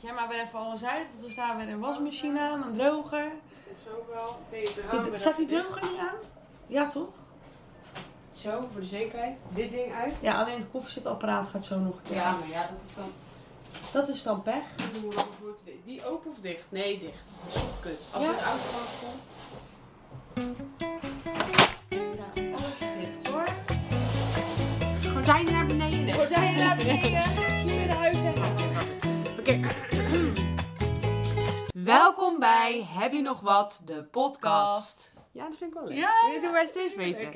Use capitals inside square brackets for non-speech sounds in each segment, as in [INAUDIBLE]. Ja, maar ben even alles uit, want er staat weer een wasmachine aan, een droger. Zo wel. Nee, het raam Zit- werd Staat die even droger niet aan? Ja, toch? dicht. Zo, voor de zekerheid. Dit ding uit. Ja, alleen het koffiezetapparaat gaat zo nog een keer Ja, aan. maar ja, dat is dan... Dat is dan pech. Hoe lang wordt het? Die open of dicht? Nee, dicht. Dat is toch kut. Als Ja. het auto was komt. Nou, alles dicht hoor. Gordijnen naar beneden. Nee. Gordijnen naar beneden, kinderen uit en Welkom bij Heb je nog wat? De podcast. Ja, dat vind ik wel leuk. Ja, Dit doen wij steeds beter.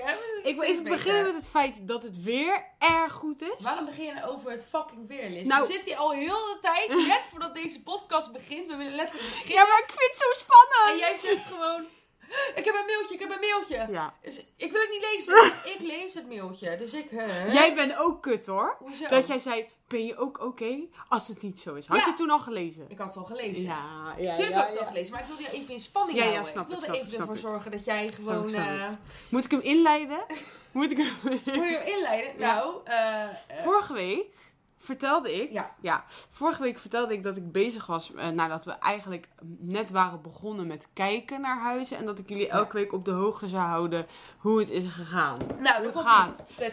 Ik wil even beginnen met het feit dat het weer erg goed is. Waarom begin je nou over het fucking weer, Liz? Nou- We zitten hier al heel de tijd, net voordat deze podcast begint. We willen letterlijk beginnen. Ja, maar ik vind het zo spannend. En jij zegt gewoon... Ik heb een mailtje, ik heb een mailtje. Ja. Dus ik wil het niet [LAUGHS] lezen. Ik lees het mailtje. Dus ik... hè? Jij bent ook kut hoor. Hoezo? Dat jij zei, ben je ook oké als het niet zo is? Had Ja. je het toen al gelezen? Ik had het al gelezen. Ja, ja, Tuurlijk ja, had ik het ja. al gelezen, maar ik wilde je even in spanning Ja, ja, houden. snap ik ik, wilde snap ik, even snap ervoor ik. zorgen dat jij gewoon... snap ik. eh, Moet ik hem inleiden? [LAUGHS] Moet ik hem... [LAUGHS] Moet je hem inleiden? Ja. Nou, eh... eh, Vorige week vertelde ik... Ja. vorige week vertelde ik dat ik bezig was eh, nadat we eigenlijk net waren begonnen met kijken naar huizen. En dat ik jullie elke week op de hoogte zou houden hoe het is gegaan. nou, hoe het dat gaat. Ik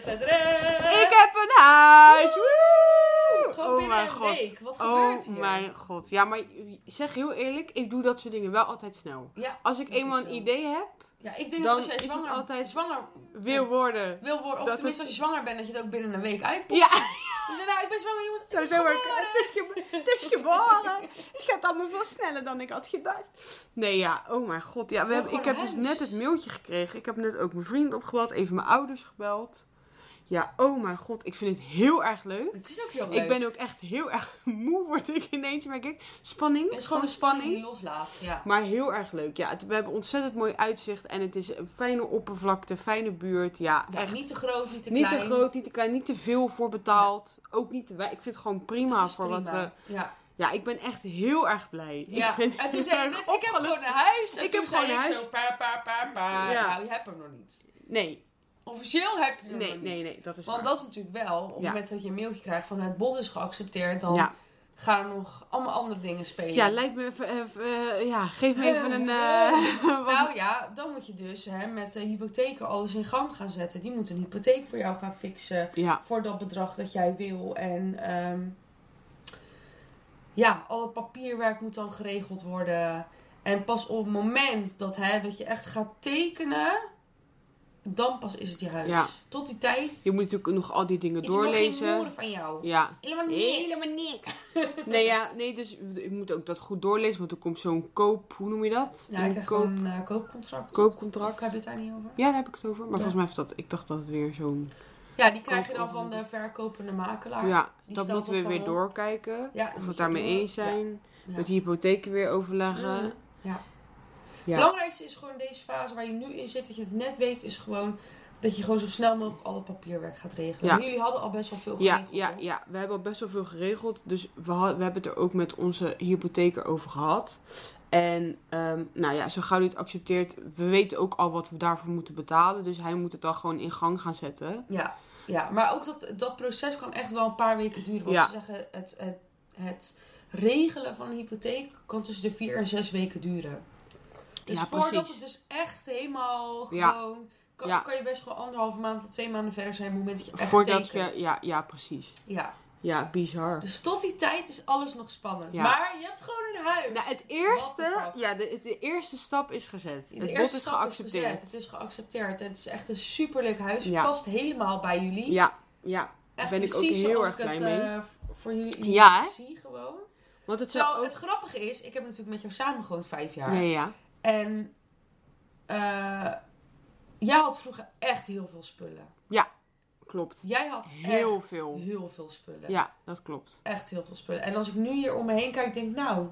Ik heb een huis! Woe! Gewoon oh binnen mijn een god. week. Wat oh gebeurt hier? mijn god. Ja, maar zeg heel eerlijk, ik doe dat soort dingen wel altijd snel. Ja, Als ik dat is eenmaal een zo. idee heb, ja, ik denk Dan dat als jij is het zwanger, altijd- zwanger wil worden. wil worden, of Dat tenminste het- als je zwanger bent, dat je het ook binnen een week uitpoept. Ja, Dus nou, ik ben zwanger, jongens. Het zo is zo werkt geboren. het. Is ge- het is geboren. Het gaat allemaal veel sneller dan ik had gedacht. Nee, ja, oh mijn god. Ja, we Maar hebben, ik gewoon heb dus huis. net het mailtje gekregen. Ik heb net ook mijn vrienden opgebeld, even mijn ouders gebeld. Ja, oh mijn god. Ik vind het heel erg leuk. Het is ook heel leuk. Ik ben ook echt heel erg [LAUGHS] moe, word ik ineens, merk ik. Spanning, Het is gewoon gewoon een de spanning spanning. die loslaat. Ja. Maar heel erg leuk. Ja, het- we hebben ontzettend mooi uitzicht en het is een fijne oppervlakte, fijne buurt. Ja, Ja, echt. Niet te groot, niet te Niet klein. te groot, niet te klein, niet te veel voor betaald. Ook niet te wij. Ik vind het gewoon prima Het is voor wat we. prima. Ja. Ja, ik ben echt heel erg blij. ja. Ik ben En toen heel zei je erg net, ik heb opgelucht. gewoon een huis. En Ik toen heb zei gewoon een ik huis. zo, paar, paar, paar, paar. Ja. Nou, je hebt hem nog niet. Nee, Officieel heb je hem nee, nog nee, niet. nee, dat is Want waar. dat is natuurlijk wel, op het Ja. moment dat je een mailtje krijgt van het bod is geaccepteerd, dan Ja. gaan nog allemaal andere dingen spelen. ja, lijkt me even. even, eh, ja, geef me even een. eh, [LAUGHS] wat- Nou ja, dan moet je dus hè, met de hypotheken alles in gang gaan zetten. Die moet een hypotheek voor jou gaan fixen. ja, Voor dat bedrag dat jij wil. En ehm, ja, al het papierwerk moet dan geregeld worden. En pas op het moment dat, hè, dat je echt gaat tekenen, dan pas is het je huis. Ja. Tot die tijd je moet natuurlijk nog al die dingen is er nog geen doorlezen. horen van jou. Ja, Helemaal niks. niks. [LAUGHS] Nee, ja, nee, dus je moet ook dat goed doorlezen, want er komt zo'n koop, hoe noem je dat? Ja, ik Een krijg koop, gewoon een eh, koopcontract. Of koopcontract. heb je het daar niet over? Ja, daar heb ik het over. Maar Ja. volgens mij heeft dat, ik dacht dat het weer zo'n... Ja, die krijg je dan Koop- van de verkopende makelaar. Ja, Ah, die dat stelt moeten dat we dan weer op. doorkijken. Ja, Of we moet het je daarmee doen. eens zijn. Ja. Met de hypotheken weer overleggen. Mm. Ja. Ja. Het belangrijkste is gewoon deze fase waar je nu in zit, dat je het net weet, is gewoon dat je gewoon zo snel mogelijk al het papierwerk gaat regelen. Ja. Maar jullie hadden al best wel veel Ja, geregeld. ja, hoor. ja, we hebben al best wel veel geregeld. Dus we, ha- we hebben het er ook met onze hypotheker over gehad. En ehm, nou ja, zo gauw hij het accepteert, we weten ook al wat we daarvoor moeten betalen. Dus hij moet het dan gewoon in gang gaan zetten. ja. Ja, maar ook dat, dat proces kan echt wel een paar weken duren. Want Ja. ze zeggen, het, het, het regelen van een hypotheek kan tussen de vier en zes weken duren. Dus Ja, voordat precies. het dus echt helemaal Ja. gewoon... Kan, Ja. kan je best wel anderhalve maand tot twee maanden verder zijn op het moment dat je echt Voordat je, tekent. ja, ja, precies. Ja. Ja, bizar. Dus tot die tijd is alles nog spannend. Ja. Maar je hebt gewoon een huis. Nou, het What the eerste, fuck? ja, de, de eerste stap is gezet. De het eerste bot is stap geaccepteerd. gezet. het is geaccepteerd. En het is echt een superleuk huis. Ja. Past helemaal bij jullie. ja, ja, Echt ben ik ook precies heel zoals erg ik het, blij mee. eh, v- voor jullie Ja, hè? zie gewoon. want het zou Terwijl ook... het grappige is, ik heb natuurlijk met jou samen gewoon vijf jaar. Ja, ja. En eh, jij had vroeger echt heel veel spullen. Klopt. Jij had Heel echt veel. heel veel spullen. Ja, dat klopt. Echt heel veel spullen. En als ik nu hier om me heen kijk, denk ik nou,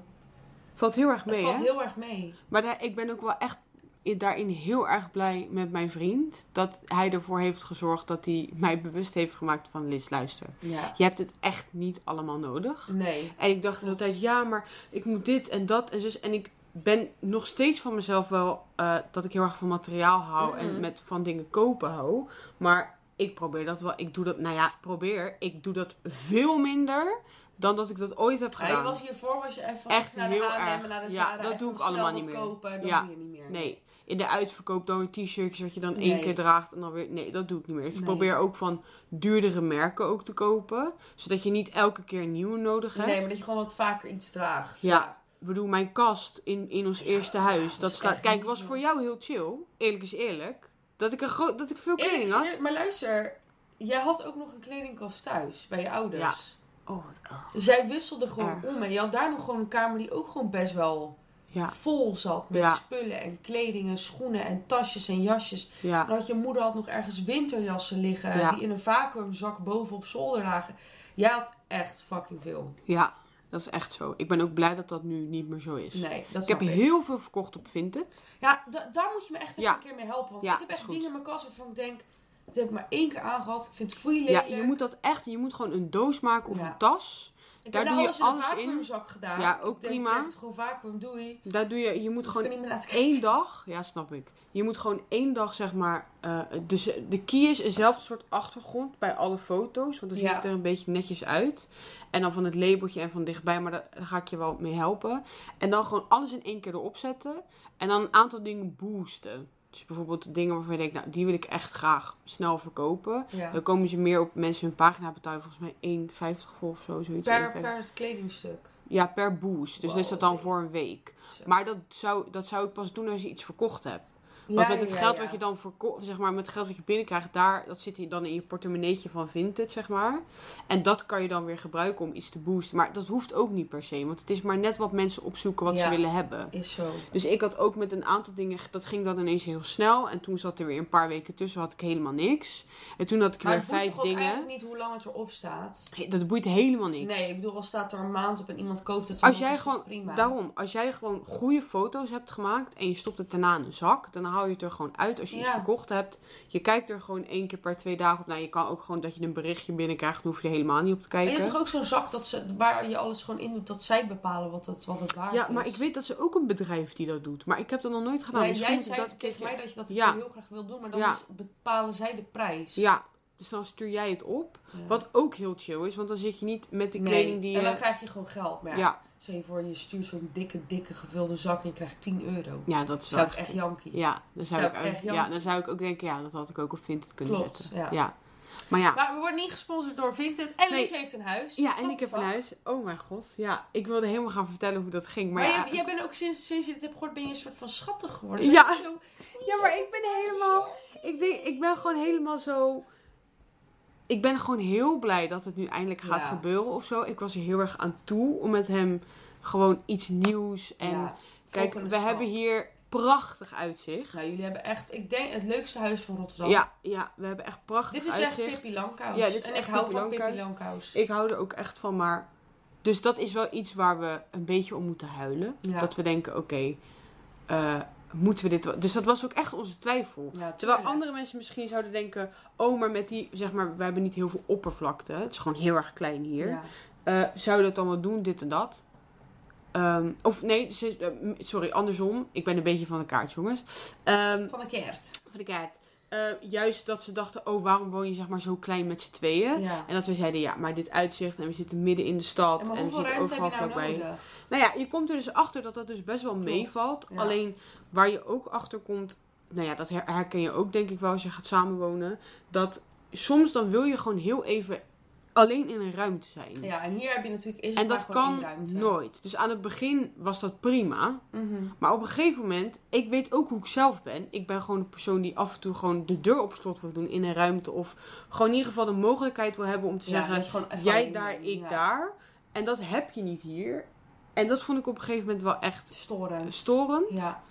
Valt heel erg het mee, valt hè? heel erg mee. Maar daar- ik ben ook wel echt i- daarin heel erg blij met mijn vriend. Dat hij ervoor heeft gezorgd dat hij mij bewust heeft gemaakt van... Liz, luister. Ja. Je hebt het echt niet allemaal nodig. Nee. En ik dacht altijd, ja, maar ik moet dit en dat en zus. En ik ben nog steeds van mezelf wel eh, dat ik heel erg van materiaal hou Mhm. en met van dingen kopen hou. Maar ik probeer dat wel. Ik doe dat, nou ja, probeer. Ik doe dat veel minder dan dat ik dat ooit heb Ja, je gedaan. was hiervoor, was je even Echt naar heel de H&M en erg. naar de Ja, Zara dat even doe ik snel allemaal wat niet meer. kopen, dat Ja. doe je niet meer. Nee. In de uitverkoop dan weer t-shirtjes wat je dan één Nee. keer draagt en dan weer... Nee, dat doe ik niet meer. Dus ik Nee. probeer ook van duurdere merken ook te kopen. Zodat je niet elke keer een nieuwe nodig hebt. Nee, maar dat je gewoon wat vaker iets draagt. Ja. Ik bedoel, mijn kast in, in ons eerste huis. dat Dat is staat, echt kijk, niet was voor jou heel chill. Eerlijk is eerlijk. Dat ik, een groot, dat ik veel Eerlijk kleding is had. eerlijk, maar luister, jij had ook nog een kledingkast thuis bij je ouders. Oh, wat erg. Dus jij wisselde gewoon Erg. om en je had daar nog gewoon een kamer die ook gewoon best wel Ja, vol zat met Ja. spullen en kleding en schoenen en tasjes en jasjes. ja. Dan had je moeder had nog ergens winterjassen liggen Ja. die in een vacuümzak boven op zolder lagen. Jij had echt fucking veel. Ja, dat is echt zo. Ik ben ook blij dat dat nu niet meer zo is. Nee, dat ik snap heb ik. heel veel verkocht op Vinted. Ja, da- daar moet je me echt even Ja. een keer mee helpen. Want Ja, ik heb is echt goed. dingen in mijn kast waarvan ik denk, dat heb ik maar één keer aangehad. Ik vind het foei Ja, lelijk. je moet dat echt, je moet gewoon een doos maken of Ja. een tas. ik daar heb nou doe je alles in een alles in. vacuümzak gedaan. Ja, ook ik denk, prima. Ik het gewoon vacuüm, doei. Daar doe je, je moet Dat gewoon kan ik niet meer laten kijken. één dag, ja snap ik. Je moet gewoon één dag zeg maar, eh, dus de key is eenzelfde soort achtergrond bij alle foto's. Want dan ziet Ja. het er een beetje netjes uit. En dan van het labeltje en van dichtbij, maar daar daar ga ik je wel mee helpen. En dan gewoon alles in één keer erop zetten. En dan een aantal dingen boosten. Dus bijvoorbeeld dingen waarvan je denkt, nou die wil ik echt graag snel verkopen. Ja. Dan komen ze meer op mensen hun pagina betalen. Volgens mij 1,50 voor of zo, zoiets. Per, 1,50. per het kledingstuk. Ja, per boost. Dus Wow, is dat dan oké. voor een week. Zo. Maar dat zou, dat zou ik pas doen als je iets verkocht hebt. Ja, Want met het ja, geld ja. wat je dan verko- zeg maar, met het geld wat je binnenkrijgt, daar, dat zit hier dan in je portemonneetje van Vinted, zeg maar. En dat kan je dan weer gebruiken om iets te boosten. Maar dat hoeft ook niet per se, want het is maar net wat mensen opzoeken wat ze Ja. willen hebben. Is zo. Dus ik had ook met een aantal dingen, dat ging dan ineens heel snel. En toen zat er weer een paar weken tussen, had ik helemaal niks. En toen had ik Maar weer het boeit vijf toch ook eigenlijk dingen. niet hoe lang het erop staat? He- Dat boeit helemaal niks. Nee, ik bedoel, als staat er een maand op en iemand koopt het, Als dan jij is het gewoon, prima. daarom, als jij gewoon goede foto's hebt gemaakt en je stopt het daarna in een zak, dan haal je het er gewoon uit als je iets Ja. verkocht hebt. Je kijkt er gewoon één keer per twee dagen op. Nou, je kan ook gewoon dat je een berichtje binnenkrijgt, dan hoef je er helemaal niet op te Maar je hebt kijken. toch ook zo'n zak dat ze, waar je alles gewoon in doet, dat zij bepalen wat het, wat het waard is? Ja, maar ik weet dat ze ook een bedrijf die dat doet, maar ik heb dat nog nooit gedaan. Nee, nou, Misschien jij zei moet ik dat dat tegen keertje- mij dat je dat Ja. heel graag wil doen, maar dan Ja. is- bepalen zij de prijs. Ja, dus dan stuur jij het op. Ja. Wat ook heel chill is, want dan zit je niet met de Nee, kleding die je... En dan krijg je gewoon geld. Maar ja, ja. stel je voor, je stuurt zo'n dikke, dikke gevulde zak en je krijgt 10 euro. ja, dat is wel Zou ik echt jankie. Ja, dan zou, Zou ik, ik ook- echt ja, janken. dan zou ik ook denken, ja, dat had ik ook op Vinted kunnen Klopt, zetten. ja. Maar ja, Maar we worden niet gesponsord door Vinted. En Nee. Lies heeft een huis. ja, en What ik the heb een fuck? huis. Oh mijn god, ja. Ik wilde helemaal gaan vertellen hoe dat ging. Maar, Maar, ja, jij, jij bent ook sinds, sinds je dit hebt gehoord, ben je een soort van schattig geworden. Ja. Ben je Oh, zo- ja, maar ik ben helemaal... Ik, denk, ik ben gewoon helemaal zo... Ik ben gewoon heel blij dat het nu eindelijk gaat Ja. gebeuren of zo. Ik was er heel erg aan toe om met hem gewoon iets nieuws. En Ja, kijk, we volgende stap. hebben hier prachtig uitzicht. Nou, jullie hebben echt, ik denk, het leukste huis van Rotterdam. Ja, ja, we hebben echt prachtig Dit is echt uitzicht. Pippi Langkous. Ja, dit is en echt ik hou Pippi van Pippi Langkous. Langkous. Ik hou er ook echt van, maar... Dus dat is wel iets waar we een beetje om moeten huilen. Ja. Dat we denken, oké, eh, moeten we dit... wel- Dus dat was ook echt onze twijfel. Ja, Terwijl tuurlijk. andere mensen misschien zouden denken... Oh, maar met die... Zeg maar, we hebben niet heel veel oppervlakte. Het is gewoon heel erg klein hier. Ja. Eh, zou je dat dan wel doen, dit en dat? Ehm, of nee, ze- eh, m- sorry, andersom. Ik ben een beetje van de kaart, jongens. Ehm, Van de Keert. van de kaart. Eh, juist dat ze dachten, oh, waarom woon je zeg maar zo klein met z'n tweeën? Ja. En dat we zeiden, ja, maar dit uitzicht en we zitten midden in de stad En en, maar we hoeveel zitten ruimte heb je overal nou vlakbij. nodig? Nou ja, je komt er dus achter dat dat dus best wel meevalt. ja. Alleen waar je ook achter komt, nou ja, dat her- herken je ook denk ik wel als je gaat samenwonen. Dat soms dan wil je gewoon heel even alleen in een ruimte zijn. Mm. Ja, en hier heb je natuurlijk is het En maar dat gewoon één kan ruimte. nooit. Dus aan het begin was dat prima. Mhm. Maar op een gegeven moment, ik weet ook hoe ik zelf ben. Ik ben gewoon een persoon die af en toe gewoon de deur op slot wil doen in een ruimte. Of gewoon in ieder geval de mogelijkheid wil hebben om te Ja, zeggen, dat je gewoon even jij alleen daar, bent. ik Ja. daar. En dat heb je niet hier. En dat vond ik op een gegeven moment wel echt eh, Storen. storend. Ja.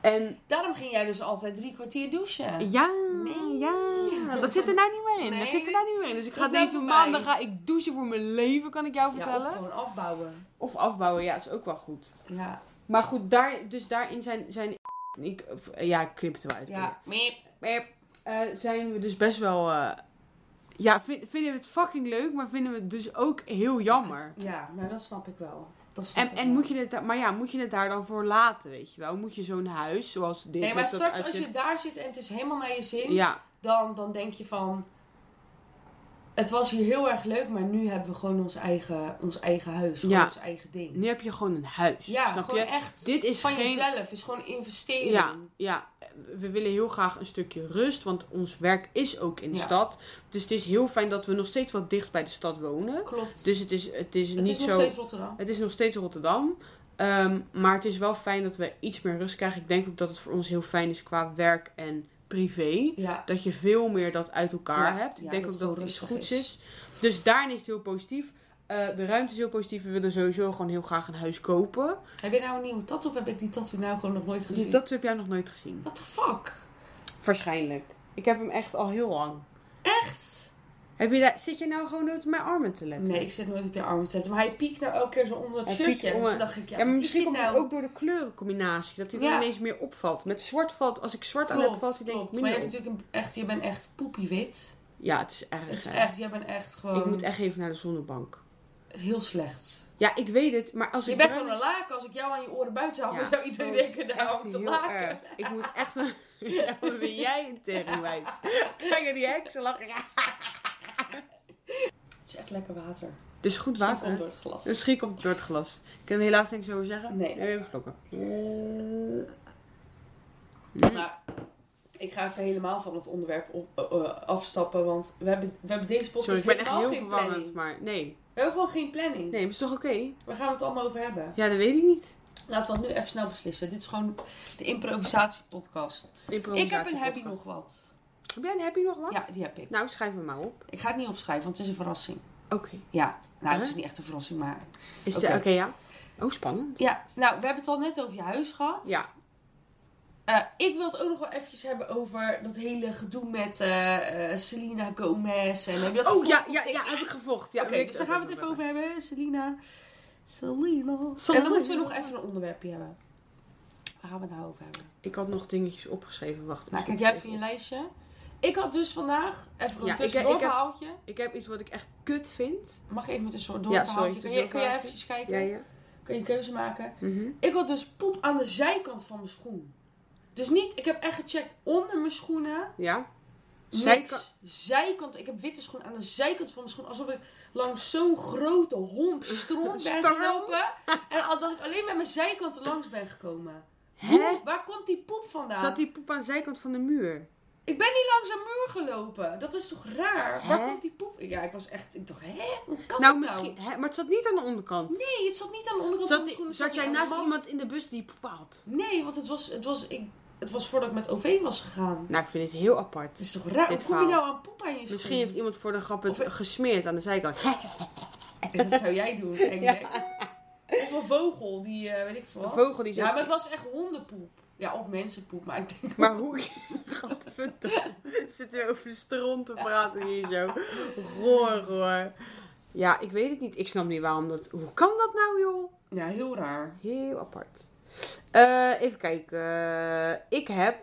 En Daarom ging jij dus altijd drie kwartier douchen. ja, Nee. [LAUGHS] ja, dat zit er nou niet meer in. Dat Nee. zit er nou niet meer in. Dus ik Dat ga is nou deze voor maandag mij. ga ik douchen voor mijn leven, kan ik jou Ja, vertellen. of gewoon afbouwen. of afbouwen, ja, is ook wel goed. Ja. Maar goed, daar, dus daarin zijn... zijn [LAUGHS] ik, of, eh, ja, ik knip het er wel uit. Ja. Miep. Eh, zijn we dus best wel... eh, ja, vind- vinden we het fucking leuk, maar vinden we het dus ook heel jammer. Ja, nou dat snap ik wel. Dat snap En, ik en wel. moet je het, daar- maar ja, moet je het daar dan voor laten, weet je wel? Moet je zo'n huis, zoals dit... Nee, maar met dat straks als je uitzicht- daar zit en het is helemaal naar je zin, Ja, dan, dan denk je van... het was hier heel erg leuk, maar nu hebben we gewoon ons eigen, ons eigen huis, gewoon Ja. ons eigen ding. Nu heb je gewoon een huis. ja, snap gewoon je? echt Dit is van geen. jezelf. is gewoon investering. Ja, ja, we willen heel graag een stukje rust, want ons werk is ook in de Ja. stad. Dus het is heel fijn dat we nog steeds wat dicht bij de stad wonen. Klopt. Dus het is, het is het niet is nog zo. steeds Rotterdam. Het is nog steeds Rotterdam. Ehm, maar het is wel fijn dat we iets meer rust krijgen. Ik denk ook dat het voor ons heel fijn is qua werk en privé. Ja, Dat je veel meer dat uit elkaar Ja, hebt. Ik ja, denk dat het ook dat gewoon het iets rustig goeds is. is. Dus daarin is het heel positief. Eh, de ruimte is heel positief. We willen sowieso gewoon heel graag een huis kopen. Dus heb je nou een nieuwe tattoo of heb ik die tattoo nou gewoon nog nooit gezien? Dat heb jij nog nooit gezien. What the fuck? Waarschijnlijk. Ik heb hem echt al heel lang. Echt? Heb je daar, zit je nou gewoon nooit op mijn armen te letten? Nee, ik zit nooit op je arm te zetten. Maar hij piekt nou elke keer zo onder het Hij piekt shirtje. En onder- toen dacht ik, ja, Ja, wat maar is misschien dit komt het nou? ook door de kleurencombinatie. Dat hij Ja. dan ineens meer opvalt. Met zwart valt, als ik zwart aan heb, klopt, valt hij denk ik klopt. Maar je, minder hebt op. natuurlijk een, echt, je bent echt poepiewit. Ja, het is erg. Het is hè. echt, jij bent echt gewoon Ik moet echt even naar de zonnebank. heel slecht. Ja, ik weet het, maar als Je ik... bent bruin- gewoon een laken. Als ik jou aan je oren buiten zou houden, Ja, zou iedereen dat Oh, is denken, echt nou, wat een heel laken. erg. Ik moet echt... een- [LAUGHS] Ja, wat ben jij een [LAUGHS] teringwijf? Kijk naar die heksen lachen. Ja. Het is echt lekker water. Het is goed Water water. komt hè? door het glas. Misschien komt het door het glas. Kunnen we helaas niks over zeggen? Nee. Nee, even vlokken. Maar Eh, nou, ik ga even helemaal van het onderwerp op, eh, eh, afstappen, want we hebben, we hebben deze podcast Sorry, ik ben echt helemaal heel geen planning. verwarrend, maar nee. We hebben gewoon geen planning. Nee, maar is toch oké? Waar gaan we het allemaal over hebben? Ja, dat weet ik niet. Laten we dat nu even snel beslissen. Dit is gewoon de improvisatiepodcast. Ik heb een happy nog wat. Heb jij een happy nog wat? Ja, die heb ik. Nou, schrijf hem maar op. Ik ga het niet opschrijven, want het is een verrassing. Oké. Ja, nou, Huh? het is niet echt een verrassing, maar... Is eh, Oké. Oké, ja. Oh, spannend. Ja, nou, we hebben het al net over je huis gehad. Ja. Eh, ik wil het ook nog wel eventjes hebben over dat hele gedoe met eh, eh, Selena Gomez. En heb je dat Oh, ja, gevoeld? ja, ja, heb ik gevocht. Ja, Oké, weet ik dus daar gaan we het even over hebben. Selena. Selena. En Selena. dan moeten we nog even een onderwerpje hebben. Waar gaan we het nou over hebben? Ik had nog dingetjes opgeschreven. Wacht. ik Nou, zoek kijk jij het van je even lijstje. Ik had dus vandaag even een Ja, ik- tussendoor ik heb- verhaaltje. op. Ik heb iets wat ik echt kut vind. Mag ik even met een soort Ja, doorverhaaltje? sorry, kan, jij, kan jij tussendoor eventjes kijken? Ja, ja. Kan je keuze maken? Mhm. Ik had dus poep aan de zijkant van mijn schoen. Dus niet, ik heb echt gecheckt onder mijn schoenen. Ja. Zijka- Zijkant. Zijkant. Ik heb witte schoenen aan de zijkant van mijn schoen. Alsof ik langs zo'n grote [LAUGHS] homp stront ben Stront? gelopen. En al- dat ik alleen met mijn zijkant er langs ben gekomen. Hè? Waar komt die poep vandaan? Zat die poep aan de zijkant van de muur? Ik ben niet langs een muur gelopen. Dat is toch raar? Waar Hè? komt die poep? Ja, ik was echt... Ik dacht, hè? Hoe kan Nou, dat misschien. Hè? Maar het zat niet aan de onderkant. Nee, het zat niet aan de onderkant van Zat, mijn schoen. het zat jij niet aan de naast mat. iemand in de bus die poep had? Nee, want het was, het, was, ik, het was voordat ik met OV was gegaan. Nou, ik vind dit heel apart. Het is toch raar? Dit Hoe kom je verhaal. nou aan poep aan je schoen? Misschien heeft iemand voor de grap het Of- gesmeerd aan de zijkant. Dat zou jij doen, [LAUGHS] denk ik. Of een vogel, die eh, weet ik veel Een wat. vogel die zo... Ja, maar het was echt hondenpoep. Ja, of mensenpoep, maar ik [LAUGHS] denk... Maar hoe... Gadverdamme. Zitten we over stront te praten hier zo. Roor, roor. Ja, ik weet het niet. Ik snap niet waarom dat... Hoe kan dat nou, joh? Ja, heel raar. Heel apart. Eh, even kijken. Eh, ik heb...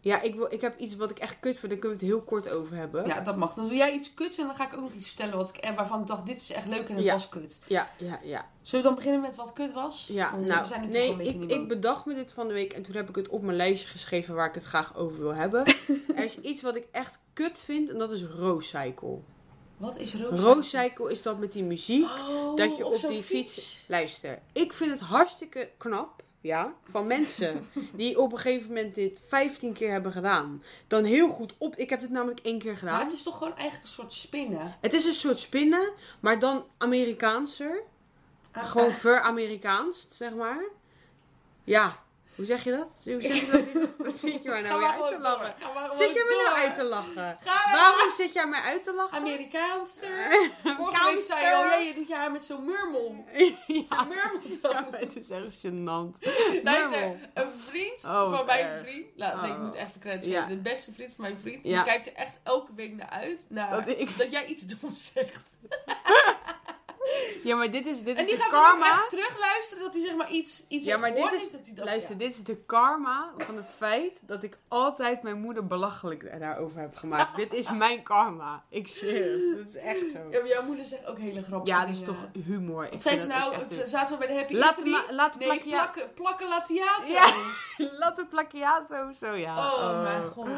Ja, ik, wil, ik heb iets wat ik echt kut vind. Daar kunnen we het heel kort over hebben. Ja, dat mag. Dan doe jij iets kuts en dan ga ik ook nog iets vertellen wat ik, en waarvan ik dacht, dit is echt leuk en het Ja. was kut. ja, ja. ja. Zullen we dan beginnen met wat kut was? Ja, Want we nou, zijn nu nee, toch een beetje ik, ik bedacht me dit van de week en toen heb ik het op mijn lijstje geschreven waar ik het graag over wil [LAUGHS] hebben. er is iets wat ik echt kut vind en dat is Rosecycle. Wat is roos? Rosecycle is dat met die muziek. Oh, dat je op zo'n die fiets- Luister, ik vind het hartstikke knap, ja, van [LAUGHS] mensen die op een gegeven moment dit 15 keer hebben gedaan. Dan heel goed op, ik heb dit namelijk één keer Maar gedaan. het is toch gewoon eigenlijk een soort spinnen? Het is een soort spinnen, maar dan Amerikaanser. Ah. Gewoon [LAUGHS] ver-Amerikaans, zeg maar. Ja, hoe zeg je dat? Hoe zeg [LAUGHS] je dat? niet? Wat zit je mij nou weer uit te lachen? Zit je me nou uit te lachen? Waarom zit jij mij uit te lachen? Amerikaans. Vorige week zei je al, ja, je doet je haar met zo'n murmel. Zo'n [LAUGHS] Ah. Ja, murmeltoon. maar het is echt gênant. Murmel. Luister, een vriend Oh, wat van mijn erg. Oh. vriend. Nou, nee, ik moet even credits Ja. geven. De beste vriend van mijn vriend. Ja. Die kijkt er echt elke week naar uit. Naar, Dat dat, ik- jij iets doms zegt. Ja, maar dit is, dit En is die de gaat dan ook karma. echt terugluisteren dat hij zeg maar iets, iets Ja, heeft maar dit gehoord is- en dat hij dat- Luister, dit is de karma van het feit dat ik altijd mijn moeder belachelijk daarover heb [LAUGHS] gemaakt. dit is mijn karma. Ik zweer het. Dat is echt zo. ja. Ja, maar jouw moeder zegt ook hele grappige Ja, dat is dingen. toch humor. Ik eh, Wat zei ze vind dat nou? ook echt Z- een- Zaten we bij de Happy Laat, Italy? ma- laat Nee, plakken- plakken, plakken latiaten. Ja. [LAUGHS] Latte Placchiato, zo ja. Oh, mijn god.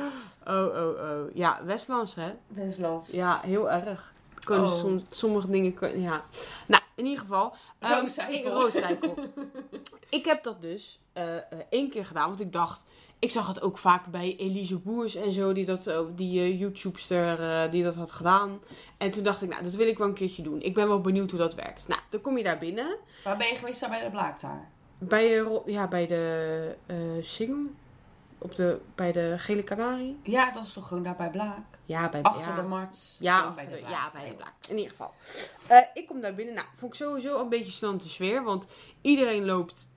Oh, oh, oh. Ja, Westlands, hè? Westlands. Ja, heel erg. Kan Oh. som- sommige dingen kun- ja. Nou, in ieder geval. ehm, Rooscycle. rooscycle. [LAUGHS] ik heb dat dus eh, eh, één keer gedaan, want ik dacht. Ik zag het ook vaak bij Elise Boers en zo, die, dat, eh, die eh, YouTubester eh, die dat had gedaan. En toen dacht ik, nou, dat wil ik wel een keertje doen. Ik ben wel benieuwd hoe dat werkt. Nou, dan kom je daar binnen. Waar ben je geweest daar bij de blaaktaar? Bij, eh, Ro- ja, bij de eh single. Op de, bij de Gele Canarie. Ja, dat is toch gewoon daar bij Blaak? Ja, bij Achter ja. de markt. Ja, Gewoon achter de- ja, bij de blaak. In ieder geval. Eh, ik kom daar binnen. Nou, vond ik sowieso een beetje stante sfeer. Want iedereen loopt...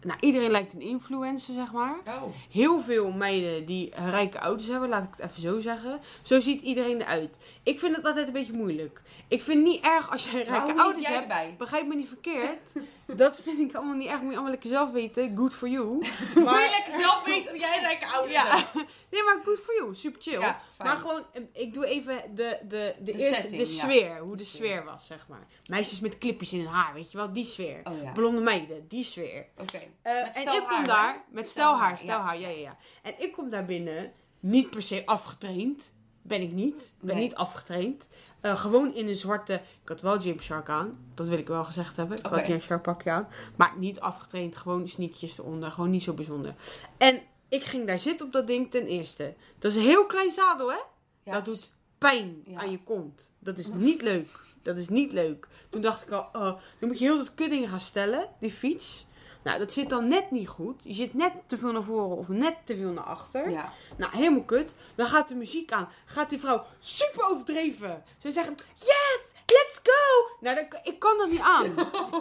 Nou, iedereen lijkt een influencer, zeg maar. Oh, Heel veel meiden die eh, rijke ouders hebben, laat ik het even zo zeggen. Zo ziet iedereen eruit. Ik vind het altijd een beetje moeilijk. Ik vind het niet erg als jij maar hoe rijke liep ouders jij hebt. erbij? Begrijp me niet [LAUGHS] verkeerd. Dat vind ik allemaal niet erg. Moet je allemaal lekker zelf weten. Good for [LAUGHS] you. Moet je lekker zelf weten dat jij rijke ouders hebt? ja. [LAUGHS] Nee, maar good for you. Super chill. Ja, fijn. Maar gewoon, eh, ik doe even de, de, De de, eerste, setting, de ja. sfeer, hoe De de sfeer. sfeer. was, zeg maar. Meisjes met clipjes in hun haar, weet je wel, die sfeer. Oh ja, oké. Blonde meiden, die sfeer. Eh, Met en stel ik kom haar, daar, hè? met Stel haar, stelhaar, ja. stelhaar, ja, ja, ja. En ik kom daar binnen, niet per se afgetraind. Ben ik niet, ben Nee. niet afgetraind. Eh, gewoon in een zwarte, ik had wel James Shark aan, dat wil ik wel gezegd hebben. Ik Oké. had James Shark pakje aan, maar niet afgetraind, gewoon sneakjes eronder, gewoon niet zo bijzonder. En ik ging daar zitten op dat ding ten eerste. Dat is een heel klein zadel, hè? Ja, dus dat doet pijn Ja. aan je kont. Dat is niet leuk. Dat is niet leuk. Toen dacht ik al, oh, dan moet je heel dat kuddingen gaan stellen, die fiets. Nou, dat zit dan net niet goed. Je zit net te veel naar voren of net te veel naar achter. Ja. Nou, helemaal kut. Dan gaat de muziek aan. Gaat die vrouw super overdreven. Ze zeggen, yes, let's go. Nou, dat, ik kan dat niet aan.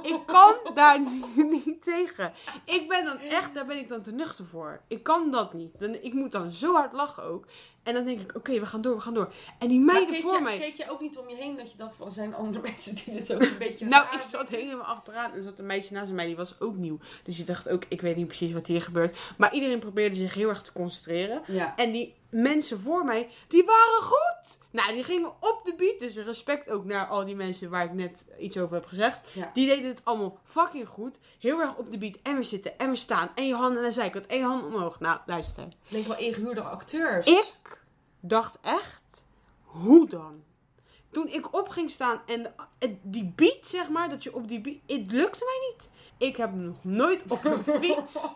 ik kan daar niet, niet tegen. Ik ben dan echt, daar ben ik dan te nuchter voor. Ik kan dat niet. Dan, ik moet dan zo hard lachen ook. En dan denk ik, oké, we gaan door, we gaan door. En die Maar meiden keek voor je, mij. keek je ook niet om je heen dat je dacht van, zijn er andere [LAUGHS] mensen die dit ook een beetje Nou, raar ik vinden? zat helemaal achteraan en er zat een meisje naast mij, die was ook nieuw. Dus je dacht ook, ik weet niet precies wat hier gebeurt. Maar iedereen probeerde zich heel erg te concentreren. Ja. En die mensen voor mij, die waren goed. Nou, die gingen op de beat. Dus respect ook naar al die mensen waar ik net iets over heb gezegd. Ja. Die deden het allemaal fucking goed. Heel erg op de beat. En we zitten en we staan. En je handen naar de zijkant. En je handen omhoog. Nou, luister. Leek wel ingehuurde acteurs. Ik dacht echt, hoe dan? Toen ik op ging staan en en die beat, zeg maar, dat je op die beat... Het lukte mij niet. Ik heb me nog nooit op een fiets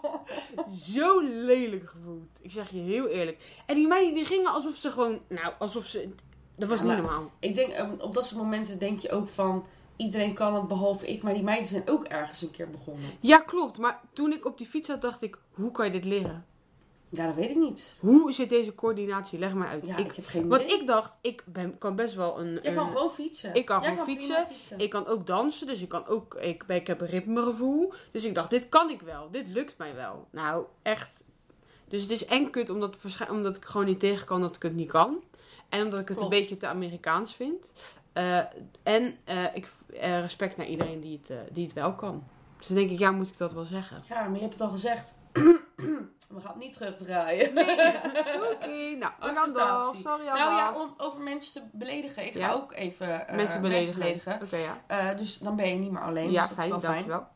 zo lelijk gevoeld. Ik zeg je heel eerlijk. En die meiden die gingen alsof ze gewoon... Nou, alsof ze... Dat was Ja, niet maar- normaal. [LAUGHS] Ik denk, ehm, op dat soort momenten denk je ook van, iedereen kan het behalve ik, maar die meiden zijn ook ergens een keer begonnen. Ja, klopt. Maar toen ik op die fiets zat, dacht ik... Hoe kan je dit leren? Ja, dat weet ik niet. Hoe zit deze coördinatie? Leg maar uit. Ja, ik, ik, heb geen idee. want ik dacht, ik ben, kan best wel een... Jij kan een- gewoon fietsen. ik kan Jij gewoon prima fietsen. Ik kan ook dansen, dus ik kan ook. Ik, ik heb een ritmegevoel. Dus ik dacht, dit kan ik wel. Dit lukt mij wel. Nou, echt. Dus het is en kut omdat, waarsch- omdat ik gewoon niet tegen kan dat ik het niet kan. En omdat ik het Klopt. een beetje te Amerikaans vind. Eh, en eh, ik, eh, respect naar iedereen die het, eh, die het wel kan. Dus dan denk ik, ja, moet ik dat wel zeggen? Ja, maar je hebt het al gezegd. [CLEARS THROAT] We gaan het niet terugdraaien. Nee. [LAUGHS] Oké, nou, dan wel. Acceptatie. [LAUGHS] Sorry, Nou ja, Andas. om over mensen te beledigen. Ik ga Ja. ook even eh, mensen beledigen. Oké, ja. Eh, dus dan ben je niet meer alleen. ja, dus dat fijn, is wel fijn. dankjewel.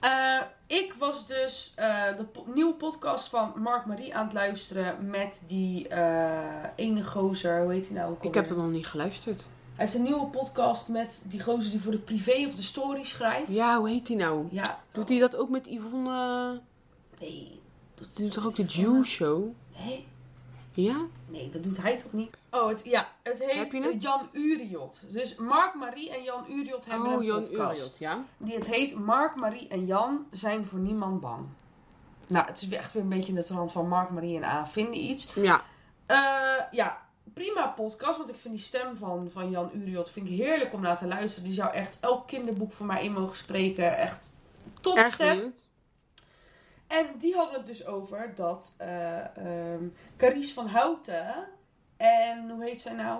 Eh, ik was dus eh, de po- nieuwe podcast van Mark Marie aan het luisteren met die eh, ene gozer. Hoe heet hij nou? ook Ik heb alweer? dat nog niet geluisterd. Hij heeft een nieuwe podcast met die gozer die voor de privé of de story schrijft. Ja, hoe heet die nou? Ja. Doet hij dat ook met Yvonne? eh, Nee. Dat Ze doet toch ook de Jew Show? Nee. Ja? Nee, dat doet hij toch niet? Oh, het, ja. Het heet Heb je het? Jan Uriot. Dus Mark, Marie en Jan Uriot hebben Oh, een podcast. ja? Die het heet Mark, Marie en Jan zijn voor niemand bang. Nou, het is weer echt weer een beetje in de trant van Mark, Marie en A vinden iets. Ja. Eh, ja, prima podcast. Want ik vind die stem van, van Jan Uriot vind ik heerlijk om naar te luisteren. Die zou echt elk kinderboek voor mij in mogen spreken. Echt top Erg stem. benieuwd. En die hadden het dus over dat eh ehm, Carice van Houten en hoe heet zij nou?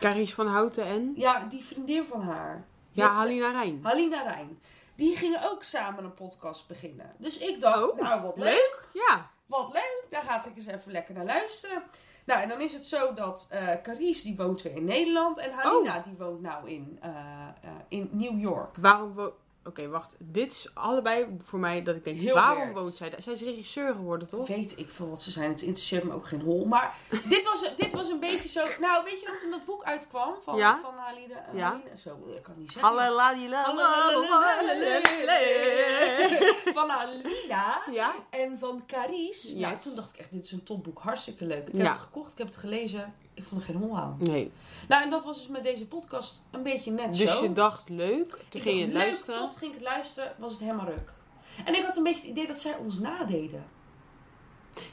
Caries van Houten en? Ja, die vriendin van haar. Ja, Halina Rijn. Halina Rijn. Die gingen ook samen een podcast beginnen. Dus ik dacht, Oh, nou wat leuk. Leuk? Ja. Wat leuk, daar ga ik eens even lekker naar luisteren. Nou, en dan is het zo dat eh Carice, die Oh. woont weer in Nederland. En Halina, die woont nou in, eh, eh, in New York. Waarom, wo- wacht. Dit is allebei voor mij dat ik denk, Heel waarom weird. woont zij daar? Zij is regisseur geworden, toch? Weet ik veel wat ze zijn. Het interesseert me ook geen hol. Maar [LAUGHS] dit was, dit was een beetje zo... Nou, weet je nog toen dat boek uitkwam? Van, Ja. van Halide... Halide Ja. Zo, ik kan het niet zeggen. Halleluja. Van Halida Ja? en van Caries. Nou, Yes. toen dacht ik echt, dit is een topboek. Hartstikke leuk. Ik heb Ja. het gekocht, ik heb het gelezen. Ik vond er geen hol aan. Nee. Nou, en dat was dus met deze podcast een beetje net zo. Dus je dacht leuk, toen Ik ging dacht, je leuk, luisteren. Tot ging ik het luisteren, was het helemaal ruk. En ik had een beetje het idee dat zij ons nadeden.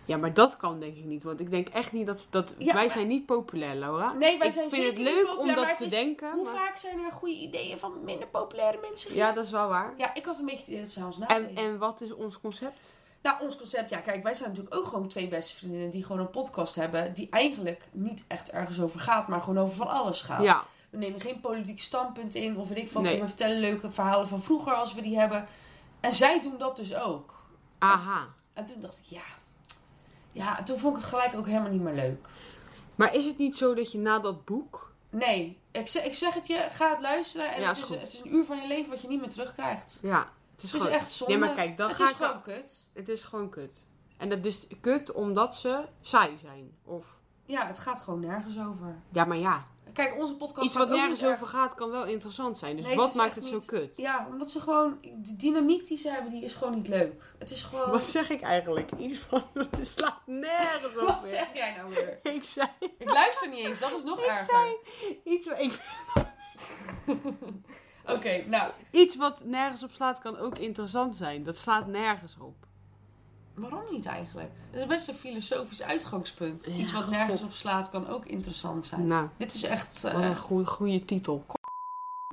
Ja, maar dat kan denk ik niet. Want ik denk echt niet dat... dat Ja, wij maar- zijn niet populair, Laura. Nee, wij ik zijn vind zeker het niet leuk om populair, maar dat het te is- denken. Hoe maar- vaak zijn er goede ideeën van minder populaire mensen? Ja, dat is wel waar. Ja, ik had een beetje het idee dat zij ons nadeden. En, en wat is ons concept? Nou, ons concept, ja, kijk, wij zijn natuurlijk ook gewoon twee beste vriendinnen die gewoon een podcast hebben. Die eigenlijk niet echt ergens over gaat, maar gewoon over van alles gaat. Ja, We nemen geen politiek standpunt in, of weet ik wat. Nee. We vertellen leuke verhalen van vroeger als we die hebben. En zij doen dat dus ook. aha. En toen dacht ik, ja. Ja, toen vond ik het gelijk ook helemaal niet meer leuk. Maar is het niet zo dat je na dat boek... Nee, ik, zeg- ik zeg het je, ga het luisteren. En Ja, het, is is, goed. het is een uur van je leven wat je niet meer terugkrijgt. Ja, het is Het is gewoon... echt zonde. Nee, maar kijk, dan het ga is ik- gewoon kut. Het is gewoon kut. En dat is kut omdat ze saai zijn. Of... Ja, het gaat gewoon nergens over. Ja, maar ja. Kijk, onze podcast Iets gaat wat ook nergens niet erg- over gaat kan wel interessant zijn. Dus Nee, het wat is maakt echt het zo niet- kut? Ja, omdat ze gewoon... De dynamiek die ze hebben, die is gewoon niet leuk. Het is gewoon... [LAUGHS] Wat zeg ik eigenlijk? Iets van... [LAUGHS] Het slaat nergens op Wat weer. zeg jij nou weer? Ik zei... [LAUGHS] Ik luister niet eens, dat is nog erger. Iets, wa- ik- Oké, nou, iets wat nergens op slaat kan ook interessant zijn. Dat slaat nergens op. waarom niet eigenlijk? Dat is best een filosofisch uitgangspunt. Ja, Iets wat nergens God. op slaat kan ook interessant zijn. Nou, Dit is echt... eh, wat een goede, goede titel.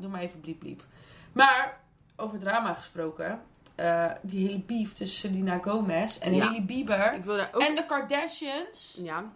Doe maar even bliep bliep. Maar over drama gesproken. eh, die hele beef tussen Selena Gomez en Ja. Hailey Bieber. Ik wil daar ook... En de Kardashians. Ja.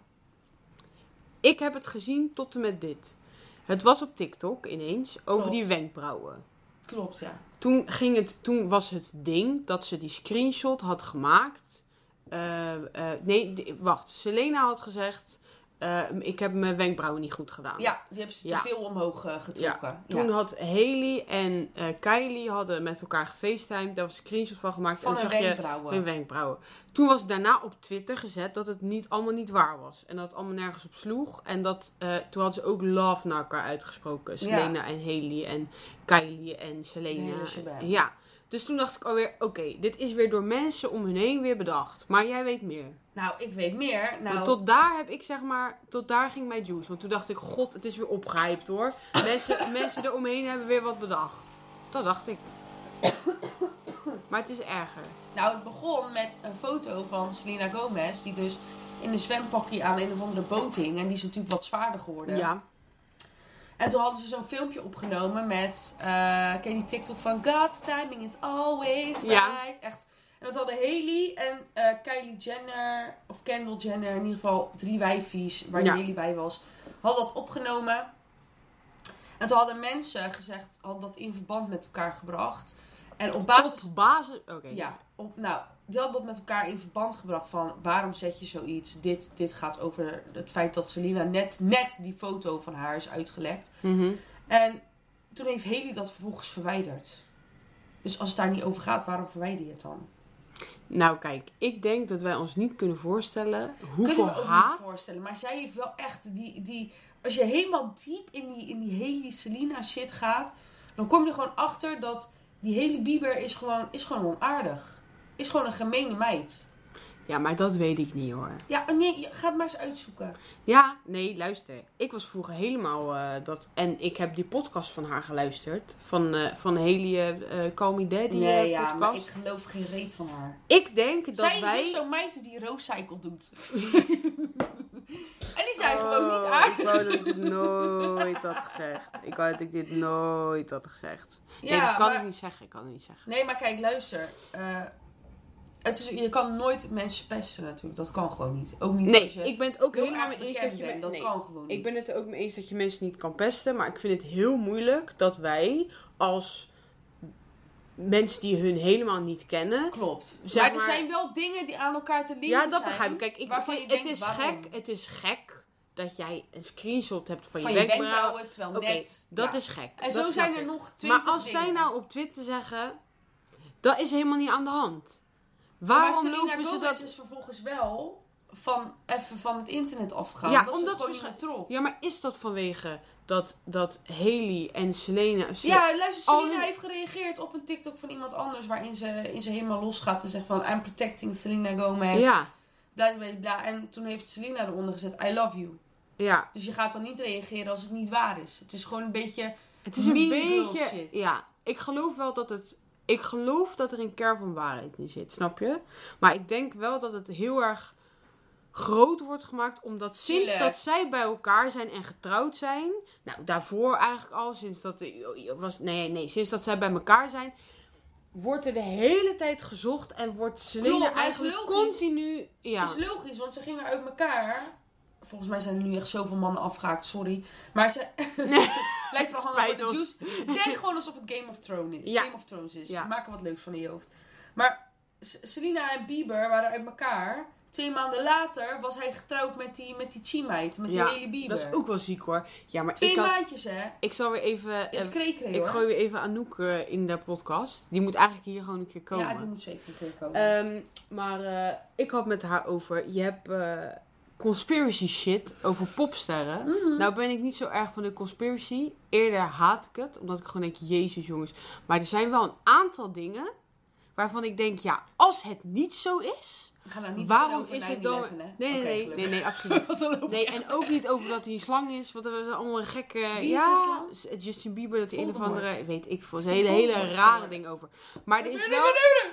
Ik heb het gezien tot en met dit. Het was op TikTok ineens over Klopt. die wenkbrauwen. Klopt, ja. Toen, ging het, toen was het ding dat ze die screenshot had gemaakt. Eh, eh, nee, d- wacht. Selena had gezegd: eh, Ik heb mijn wenkbrauwen niet goed gedaan. Ja, die hebben ze te Ja. veel omhoog eh, getrokken. Toen Ja. had Haley en eh, Kylie hadden met elkaar gefacetimed. Daar was een screenshot van gemaakt. Van en hun dan zag je wenkbrauwen. hun wenkbrauwen. Toen was daarna op Twitter gezet dat het niet, allemaal niet waar was. En dat het allemaal nergens op sloeg. En dat, eh, toen hadden ze ook love naar elkaar uitgesproken. Ja. Selena en Haley en Kylie en De Selena. hele shebang. ja. Dus toen dacht ik alweer, oké, dit is weer door mensen om hun heen weer bedacht. Maar jij weet meer. Nou, ik weet meer. Nou, Maar tot daar heb ik zeg maar, tot daar ging mijn juice. Want toen dacht ik, god, het is weer opgehyped hoor. [COUGHS] Mensen, mensen eromheen hebben weer wat bedacht. Dat dacht ik. [COUGHS] Maar het is erger. nou, het begon met een foto van Selena Gomez. Die dus in een zwempakje aan een of andere boot hing. En die is natuurlijk wat zwaarder geworden. Ja. En toen hadden ze zo'n filmpje opgenomen met, eh ken je die TikTok van God's timing is always right. Ja. Echt. En dat hadden Haley en eh, Kylie Jenner, of Kendall Jenner, in ieder geval drie wijfies waar Ja. Haley bij was, hadden dat opgenomen. En toen hadden mensen gezegd, hadden dat in verband met elkaar gebracht. En op basis... Op basis. Oké. Ja, op, nou, die hadden dat met elkaar in verband gebracht van waarom zet je zoiets? Dit, dit gaat over het feit dat Selena net, net die foto van haar is uitgelekt. Mhm. En toen heeft Haley dat vervolgens verwijderd. Dus als het daar niet over gaat, waarom verwijder je het dan? Nou kijk, ik denk dat wij ons niet kunnen voorstellen hoeveel Kunnen we ook haat. niet voorstellen. Maar zij heeft wel echt die... die als je helemaal diep in die, in die Haley Selena shit gaat... Dan kom je er gewoon achter dat die Haley Bieber is gewoon, is gewoon onaardig. Is gewoon een gemene meid. Ja, maar dat weet ik niet hoor. Ja, nee, je- ga het maar eens uitzoeken. Ja, nee, luister. Ik was vroeger helemaal eh, dat. En ik heb die podcast van haar geluisterd. Van, eh van Haley eh, eh, Call Me Daddy eh, Nee, ja, podcast. maar ik geloof geen reet van haar. Ik denk dat Zij is wij. dus zo'n meid die roadcycle [LAUGHS] doet. en die zijn gewoon niet aardig. Oh, Ik [LAUGHS] wou dat ik dit nooit had gezegd. Ik wou dat ik dit nooit had gezegd. Nee, dat kan ik niet zeggen. Ik kan het niet zeggen. Nee, maar kijk, luister. eh, het is, je kan nooit mensen pesten natuurlijk. Dat kan gewoon niet. Ook niet Nee, als je ik ben het ook heel helemaal erg mee eens bekend dat je... bent. Dat nee. kan gewoon niet. Ik ben het er ook mee eens dat je mensen niet kan pesten. Maar ik vind het heel moeilijk dat wij als mensen die hun helemaal niet kennen... Klopt. Zeg maar, maar- er zijn wel dingen die aan elkaar te leren Ja, dat zijn, begrijp ik. Kijk, ik, waarvan het, je het denkt, is waarom? gek, het is gek dat jij een screenshot hebt van, van je je wenkbrauw. wenkbrauwen, terwijl Oké, net... dat ja. is gek. En dat zo snap zijn er ik. nog twintig Maar als zij dingen. nou op Twitter zeggen, dat is helemaal niet aan de hand. Waarom maar Selena lopen ze Gomez dat... is vervolgens wel van, even van het internet afgegaan. Ja, omdat ze omdat het gewoon niet waarsch- meer trok. Ja, maar is dat vanwege dat, dat Haley en Selena... Ja, luister, Al Selena hun- heeft gereageerd op een TikTok van iemand anders waarin ze, in ze helemaal losgaat en zegt van I'm protecting Selena Gomez. ja, Bla, bla, bla. En toen heeft Selena eronder gezet I love you. ja, Dus je gaat dan niet reageren als het niet waar is. Het is gewoon een beetje... Het is een Mean Girl beetje. shit. Ja, ik geloof wel dat het. Ik geloof dat er een kern van waarheid in zit, snap je? Maar ik denk wel dat het heel erg groot wordt gemaakt, omdat sinds Tuurlijk. dat zij bij elkaar zijn en getrouwd zijn, nou daarvoor eigenlijk al, sinds dat oh, was, nee, nee, sinds dat zij bij elkaar zijn, wordt er de hele tijd gezocht en wordt Klopt, Selena maar is eigenlijk logisch. continu, ja, is logisch, want ze gingen uit elkaar. Volgens mij zijn er nu echt zoveel mannen afgehaakt, sorry. Maar ze... [LAUGHS] Lijkt wel gewoon Spijt voor de ons. juice. Denk gewoon alsof het Game of Thrones is. Ja. Game of Thrones is. Ja. Maak er wat leuks van in je hoofd. Maar S- Selena en Bieber waren uit elkaar. Twee maanden later was hij getrouwd met die, met die Chi-meid. Met Ja, die Haley Bieber. dat is ook wel ziek hoor. Ja, maar Twee ik had, maandjes, hè? ik zal weer even, eh, Is kreekre, Ik hoor. gooi weer even Anouk eh, in de podcast. Die moet eigenlijk hier gewoon een keer komen. Ja, die moet zeker een keer komen. Ehm, maar eh, ik had met haar over, je hebt eh, conspiracy shit over popsterren. Mhm. Nou ben ik niet zo erg van de conspiracy. Eerder haat ik het, omdat ik gewoon denk, jezus jongens. Maar er zijn wel een aantal dingen waarvan ik denk, ja, als het niet zo is... We gaan nou niet waarom vertellen over is het dan- 9/11, hè? Nee, nee, Oké, nee, nee, gelukkig. nee, [LAUGHS] absoluut. Want dan lopen Nee, en ook niet over dat hij een slang is, want er zijn allemaal gekke... is een ja, slang? s- eh, Justin Bieber, dat hij een of Voldemort. andere... Weet ik veel, Is een die hele, hele Voldemort rare geworden? ding over. Maar er is wel...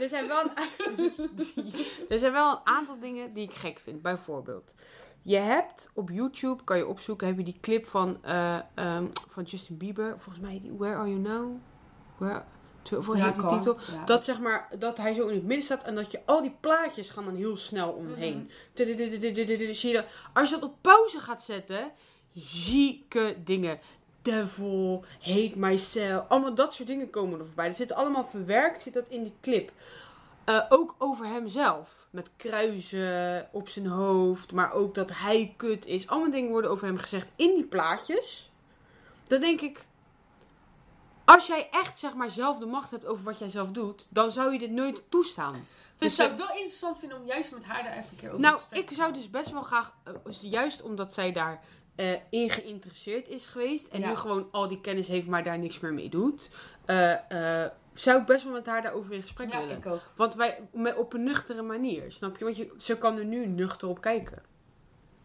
Er zijn wel, een, [LAUGHS] er zijn wel een aantal dingen die ik gek vind. Bijvoorbeeld, je hebt op YouTube, kan je opzoeken, heb je die clip van, eh, ehm, van Justin Bieber. Volgens mij, die Where Are You Now? Where, to, voor Ja, heet die kan. titel. Ja. Dat, zeg maar, dat hij zo in het midden staat en dat je al die plaatjes gaan dan heel snel omheen. Tudududududududud, Zie je dat? Als je dat op pauze gaat zetten, zieke dingen. Devil, hate myself, allemaal dat soort dingen komen er voorbij. Er zit allemaal verwerkt, zit dat in die clip. Eh, ook over hemzelf. Met kruisen op zijn hoofd, maar ook dat hij kut is. Allemaal dingen worden over hem gezegd in die plaatjes. Dan denk ik, als jij echt zeg maar zelf de macht hebt over wat jij zelf doet, dan zou je dit nooit toestaan. Dus Dus zou ik wel interessant vinden om juist met haar daar even een keer over Nou, te spreken. ik zou dus best wel graag, eh, juist omdat zij daar eh, in geïnteresseerd is geweest en Ja. nu gewoon al die kennis heeft, maar daar niks meer mee doet, eh, eh, zou ik best wel met haar daarover in gesprek Ja, willen. ik ook. Want wij met, op een nuchtere manier, snap je? Want je, ze kan er nu nuchter op kijken.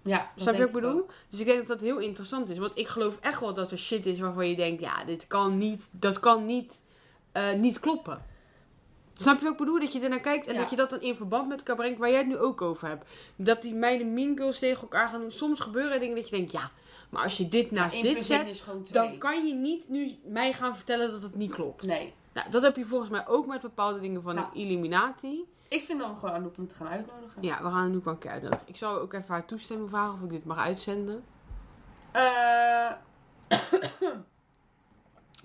Ja, dat snap je denk wat ik bedoel? Dus ik denk dat dat heel interessant is. Want ik geloof echt wel dat er shit is waarvan je denkt, ja, dit kan niet, dat kan niet, eh, niet kloppen. Snap je wat ik bedoel? Dat je ernaar kijkt en Ja. dat je dat dan in verband met elkaar brengt waar jij het nu ook over hebt. Dat die meiden mean girls tegen elkaar gaan doen. Soms gebeuren er dingen dat je denkt, ja, maar Nou, als je dit naast Eén dit plus één zet, is gewoon twee. dan kan je niet nu mij gaan vertellen dat het niet klopt. Nee. Nou, dat heb je volgens mij ook met bepaalde dingen van Nou. de Illuminati. Ik vind dan gewoon Anouk moeten gaan uitnodigen. Ja, we gaan nu wel een keer uitnodigen. Ik zou ook even haar toestemming vragen of ik dit mag uitzenden. Eh,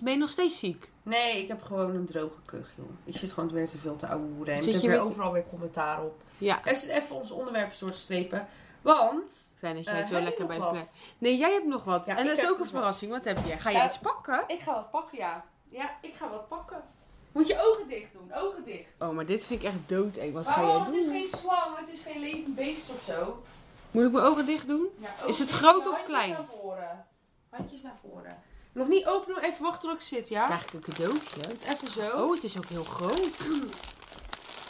Ben je nog steeds ziek? nee, ik heb gewoon een droge kuch, joh. Ik zit gewoon weer te veel te ouwehoeren. En Zit ik heb je weer met- overal weer commentaar op. Ja. Er zit even ons onderwerp door te strepen. Want... Fijn dat eh, jij het zo heb je lekker nog bij de wat? plek. Nee, jij hebt nog wat. Ja, en ik dat is heb ook een dus wat. verrassing. Wat heb jij? Ga Ja. jij iets pakken? Ik ga wat pakken, ja. Ja, ik ga wat pakken. Moet je ogen dicht doen, ogen dicht. Oh, maar dit vind ik echt doodeng. Wat ga Waarom? jij Oh, Het is doen? geen slang, het is geen levend beest of zo. Moet ik mijn ogen dicht doen? Ja, Is het ogen groot dicht, of handjes klein? Naar voren. Handjes naar voren. Nog niet open doen, even wachten tot ik zit, ja? Krijg ik een cadeautje? Even zo. Oh, het is ook heel [CLEARS THROAT] groot.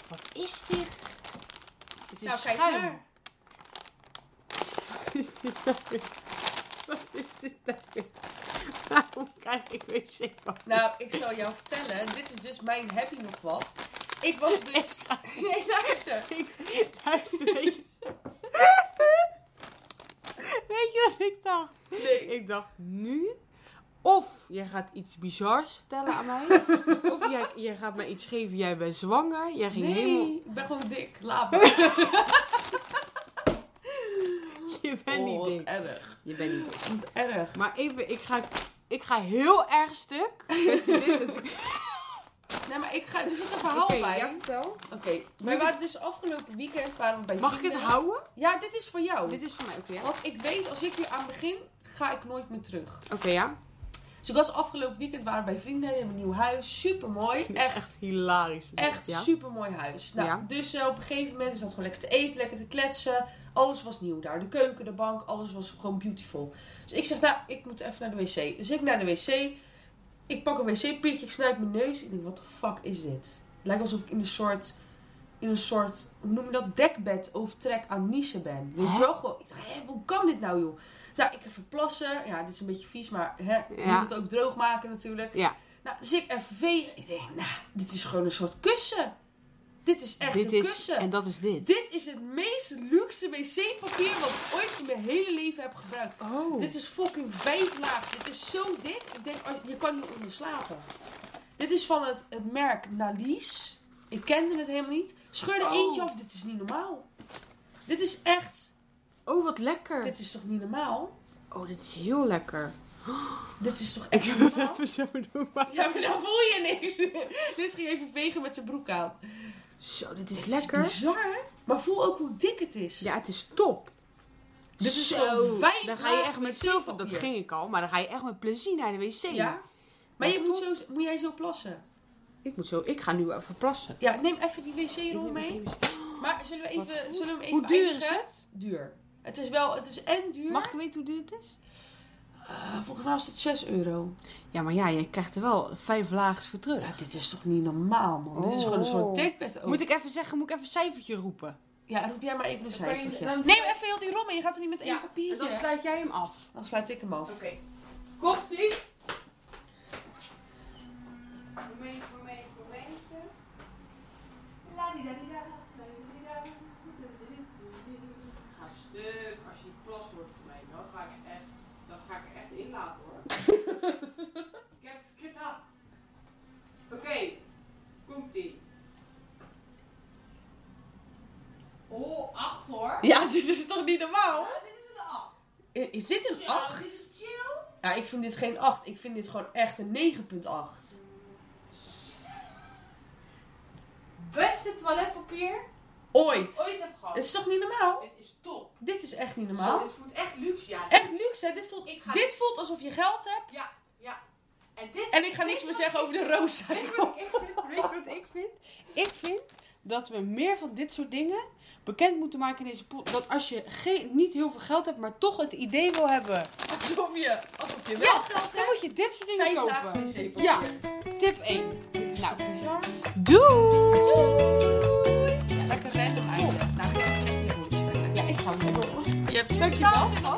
Wat is dit? Het is nou, kijk schuim. daar. [LAUGHS] Wat is dit nou weer? Wat is dit nou weer? Waarom krijg ik wc-papier? Nou, ik zal jou vertellen. Dit is dus mijn happy nog wat. Ik [LAUGHS] was dus... Nee, luister. Ik, luister, weet je... [LAUGHS] Weet je wat ik dacht? Nee. Ik dacht nu, of jij gaat iets bizars vertellen [LAUGHS] aan mij, of jij, jij gaat mij iets geven, jij bent zwanger, jij ging helemaal... [LAUGHS] Nee, ik ben gewoon dik. Laat me. Je bent Oh, wat niet dik. erg. Je bent niet dik. Wat erg. [LAUGHS] Maar even, ik ga, ik ga heel erg stuk. Weet je dit? Het- Nee, maar ik ga, er zit een verhaal bij. ja, vertel. Oké, we waren dus afgelopen weekend waren we bij Mag ik het vrienden. houden? Ja, dit is voor jou. Dit is van mij, oké. ja. Want ik weet, als ik hier aan begin, ga ik nooit meer terug. Oké, ja. Dus ik was afgelopen weekend waren we bij vrienden in een nieuw huis. Super mooi. Echt, hilarisch. echt ja. super mooi huis. Nou, Ja. dus eh, op een gegeven moment we zaten gewoon lekker te eten, lekker te kletsen. Alles was nieuw daar. De keuken, de bank, alles was gewoon beautiful. Dus ik zeg, nou, ik moet even naar de wc. Dus ik naar de wc. Ik pak een wc-pitje, ik snuit mijn neus. Ik denk, wat de fuck is dit? Het lijkt alsof ik in een soort, in een soort hoe noem je dat, dekbed overtrek aan niezen ben. Weet je Hè? wel? Gewoon, ik dacht, hè, hoe kan dit nou, joh? Dus nou, ik even plassen. Ja, dit is een beetje vies, maar hè, je Ja. moet het ook droog maken natuurlijk. Ja. Nou, dus ik even vegen. Ik denk, nou, dit is gewoon een soort kussen. Dit is echt dit een is, kussen. En dat is dit. Dit is het meest luxe wc-papier wat ik ooit in mijn hele leven heb gebruikt. Oh. Dit is fucking vijf laag. Dit is zo dik. Ik denk, als- je kan niet onder slapen. Dit is van het, het merk Nalies. Ik kende het helemaal niet. Scheur er Oh. eentje af. Dit is niet normaal. Dit is echt... oh, wat lekker. Dit is toch niet normaal? Oh, dit is heel lekker. Dit is toch Ik echt niet wil het normaal? even zo doen, maar... Ja, maar dan voel je niks. [LAUGHS] Liz ging even vegen met zijn broek aan. Zo, dit is Dit lekker. is bizar, hè? Maar voel ook hoe dik het is. ja, het is top. Dit is gewoon vijf Dan ga je echt lagen met zoveel... Dat wc-papier. ging ik al, maar dan ga je echt met plezier naar de wc. Ja? Maar je Ja, moet, zo, moet jij zo plassen? Ik moet zo... Ik ga nu even plassen. Ja, neem even die wc-rol Ik neem mee. even- Maar zullen we Wat even... goed. Zullen we hem even Hoe duur is eindigen? Duur. Het is wel... Het is en duur. Mag Ah, ik weten hoe duur het is? Eh, volgens mij was het 6 euro. Ja, maar ja, je krijgt er wel vijf laags voor terug. Ja, dit is toch niet normaal, man? Dit is gewoon een soort Oh. dekbed ook. Moet ik even zeggen, moet ik even een cijfertje roepen? Ja, roep jij maar even een Dan kan je- cijfertje. dan- Neem even heel die rommel. Je gaat er niet met één Ja, papiertje. Dan, sluit jij hem af. sluit ik hem af. Oké. Komt-ie. Ik ga stuk als je plas wordt voor mij. Dan ga ik echt, dat ga ik echt inlaten hoor. ik heb het gedaan. Oké, komt ie. Oh, acht hoor. [LAUGHS] Ja, dit is toch niet normaal? Ja, dit is een acht. I- Is dit een Zo, 8? Dit is chill. Ja, ik vind dit geen 8. Ik vind dit gewoon echt een 9.8. Beste toiletpapier Ooit. ooit heb gehad. Het is toch niet normaal? Dit is top. Dit is echt niet Zo, normaal. dit voelt echt luxe, ja. Echt luxe, hè? Dit voelt, Ik ga- dit voelt alsof je geld hebt. Ja, ja. En dit... En ik ga niks meer zeggen over de roos. Weet je wat ik vind? Weet je wat ik vind? Ik vind dat we meer van dit soort dingen bekend moeten maken in deze pot. Dat als je geen, niet heel veel geld hebt, maar toch het idee wil hebben. Alsof je, alsof je wel Ja, geld Dan hebt. moet je dit soort dingen Vijf laags kopen. wc-papier. Ja, tip 1. Dit is Nou. toch bizar? Doei! Ja, lekker random einde. Nou, ik heb het echt niet goed. Ja, ik ga hem weer doen. Je hebt een stukje was.